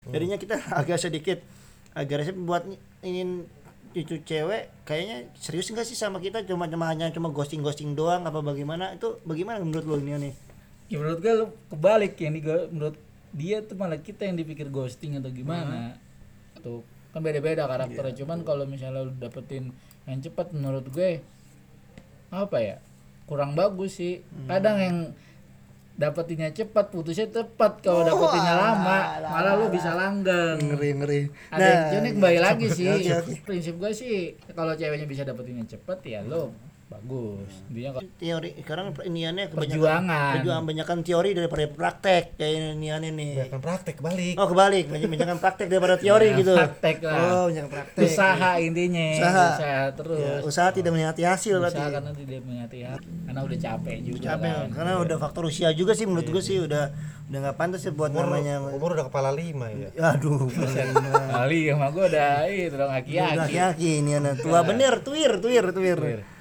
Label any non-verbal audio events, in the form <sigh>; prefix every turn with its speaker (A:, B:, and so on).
A: Hmm. jadinya kita <laughs> agak sedikit agresif buat ny- ingin itu cewek kayaknya serius nggak sih sama kita cuma cuma hanya cuma ghosting ghosting doang apa bagaimana itu bagaimana menurut lo ini nih
B: ya menurut gue lu kebalik yang digo- menurut dia tuh malah kita yang dipikir ghosting atau gimana tuh kan beda-beda karakternya
A: Iya.
B: cuman kalau misalnya lu dapetin yang cepat menurut gue apa ya kurang bagus sih
A: Hmm.
B: kadang yang dapetinnya cepat putusnya tepat
A: Oh,
B: kalau dapetinnya lama malah lu bisa langgeng
A: ngeri Nah, iya, ngeri
B: ada yang unik kembali
A: <laughs>
B: lagi sih prinsip gue sih kalau ceweknya bisa dapetinnya cepat ya lo bagus dia kalau
A: teori sekarang iniannya kebanyakan
B: perjuangan
A: perjuangan kebanyakan teori daripada praktek kayak iniannya nih
C: Akan praktek balik.
A: oh kebalik banyak banyakan praktek daripada teori gitu
B: praktek lah
A: oh banyak praktek
B: usaha intinya
A: Usaha.
B: terus
A: Ya, usaha tidak melihat hasil
B: Iya. usaha
A: berarti
B: karena tidak mengerti hati karena udah capek juga
A: capek
B: kan.
A: karena udah faktor usia juga sih menurut gue sih udah udah nggak pantas ya buat namanya
C: Umur udah kepala lima ya.
A: aduh
B: kali sama gue udah itu dong aki
A: udah
B: aki
A: aki-aki ini anak tua bener tuir tuir tuir